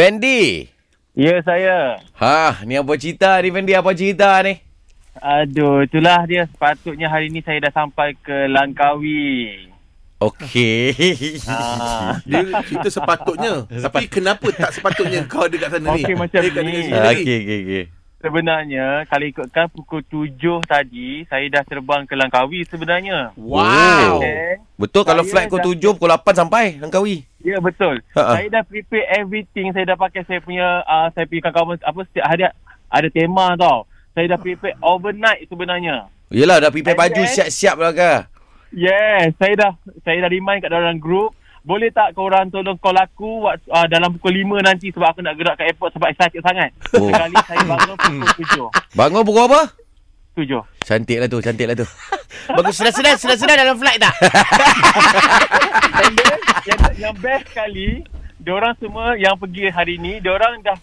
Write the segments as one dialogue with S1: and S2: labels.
S1: Fendi.
S2: Ya saya.
S1: Ha, ni apa cerita ni Fendi? Apa cerita ni?
S2: Aduh, itulah dia sepatutnya hari ni saya dah sampai ke Langkawi.
S1: Okey.
S2: Ah.
S3: Dia cerita sepatutnya. Tapi kenapa tak sepatutnya kau dekat sana ni?
S2: Okey, macam
S3: Dia kat
S2: ni.
S3: dekat sini
S1: Ah,
S3: lagi.
S1: Okey, okey, okey.
S2: Sebenarnya kalau ikutkan pukul 7 tadi saya dah terbang ke Langkawi sebenarnya.
S3: Wow.
S1: Oh.
S2: Eh,
S1: Betul kalau
S2: Saya
S1: flight pukul 7,
S2: dah-
S1: pukul 8 sampai Langkawi.
S2: Ya betul.
S3: Ha,
S1: Ha-ha.
S2: Saya dah prepare everything. Saya dah pakai saya punya uh, saya punya kawan-kawan apa setiap hari ada tema tau. Saya dah prepare overnight sebenarnya.
S1: Yelah dah prepare
S2: And
S1: baju
S2: then-
S1: siap-siap lah kah?
S2: Yes, saya dah saya dah remind kat dalam grup boleh tak korang tolong call aku whats- uh, dalam pukul 5 nanti sebab aku nak gerak kat airport sebab excited sangat.
S1: Oh.
S2: Oh. Sekali saya bangun pukul
S1: Bangun pukul apa?
S2: 7. 7.
S1: Cantik lah tu, cantik lah tu.
S4: Bagus sedar-sedar sedar-sedar dalam flight tak?
S2: And then, yang, yang best sekali, diorang semua yang pergi hari ni, diorang dah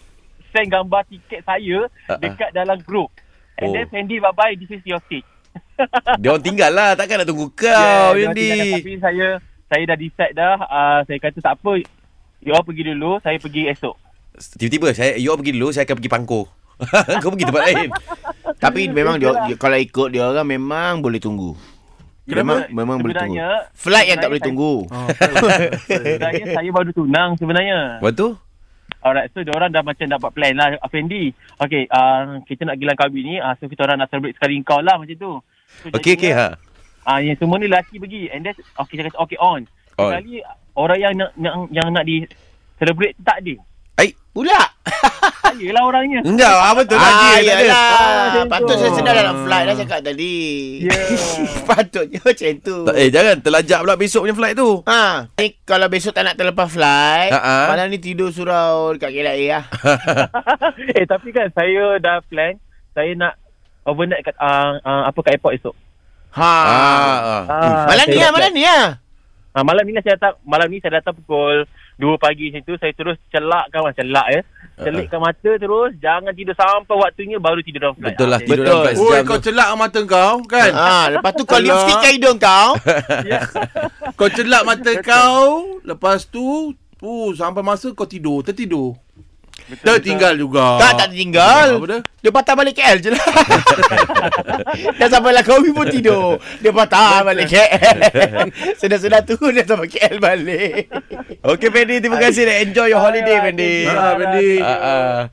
S2: send gambar tiket saya
S1: Ah, ah.
S2: uh-uh. dekat dalam grup.
S1: Oh.
S2: And oh. then Sandy, bye-bye, this is your seat.
S1: Dia orang tinggal lah, takkan nak tunggu
S2: Ya,
S1: kau,
S2: Yeah, diorang
S1: Fendi.
S2: tinggal dah. Tapi saya saya dah decide dah, uh, saya kata tak apa, diorang pergi dulu, saya pergi esok.
S1: Tiba-tiba saya you all pergi dulu, saya akan pergi pangkor. kau pergi tempat lain.
S4: Tapi memang dia,
S2: lah.
S4: dia kalau ikut dia orang memang boleh tunggu. Memang memang boleh tunggu.
S2: Sebenarnya-
S4: Flight yang tak boleh
S2: sebenarnya
S4: tunggu.
S2: saya- Sebenarnya saya baru tunang sebenarnya.
S1: Lepas tu?
S2: Alright, so diorang dah macam dapat plan lah. Fendi, okay, uh, kita nak gilang kahwin ni, uh, so kita orang nak celebrate sekali kau lah macam tu. So,
S1: Okey, okey.
S2: jadinya-
S1: Ha.
S2: Ah, yang semua ni lelaki pergi. And then okay saya kata okay on.
S1: On.
S2: on. Sekali orang yang nak yang, yang nak di celebrate tu tak ada.
S1: Ai,
S4: Pula.
S2: Saya lah orangnya.
S4: Hmm.
S1: enggak, ah, betul lah
S4: Ah,
S1: dia. tak ada.
S4: yalah.
S2: Ah,
S4: Patut
S2: macam
S4: saya
S2: tu.
S4: sedar dalam flight dah cakap tadi.
S2: Ya.
S4: Patutnya macam tu.
S1: Tak, eh, jangan terlajak pula besok punya flight tu.
S4: Ha, ni kalau besok tak nak terlepas flight,
S1: Ha-ha.
S4: malam ni tidur surau dekat KLIA lah.
S2: eh tapi kan saya dah plan saya nak overnight kat uh, uh, apa kat airport esok.
S4: Ha.
S1: Ah, ah.
S2: Ah,
S4: Malam
S2: saya
S4: ni lah,
S2: dah
S4: malam
S2: plan.
S4: ni lah.
S2: Ah, malam ni lah saya datang malam ni saya datang pukul 2 pagi situ saya terus celak kawan celak
S1: Ha,
S2: ya. Celakkan mata terus jangan tidur sampai waktunya baru tidur dalam flight.
S1: Betul lah,
S2: Ah,
S1: tidur
S4: Betul.
S1: dalam flight
S3: Oi,
S1: sejam
S3: kau
S1: tu.
S3: celak mata kau kan?
S4: Ha, lepas tu kau
S3: Alah.
S4: lipstick kat hidung kau.
S3: Kau celak mata kau, lepas tu Oh, sampai masa kau tidur, tertidur. Tertinggal juga.
S4: Tak, tak tinggal.
S3: Apa dia?
S4: Dia patah balik KL je lah. dah sampai lah kau pun tidur. Dia patah balik KL. Sedar-sedar tu dia sampai KL balik.
S1: Okey, Fendi. Terima kasih. Enjoy your holiday,
S2: Alright,
S1: Fendi.
S2: thank you.
S3: Ha, Fendi.
S1: Ah, ah.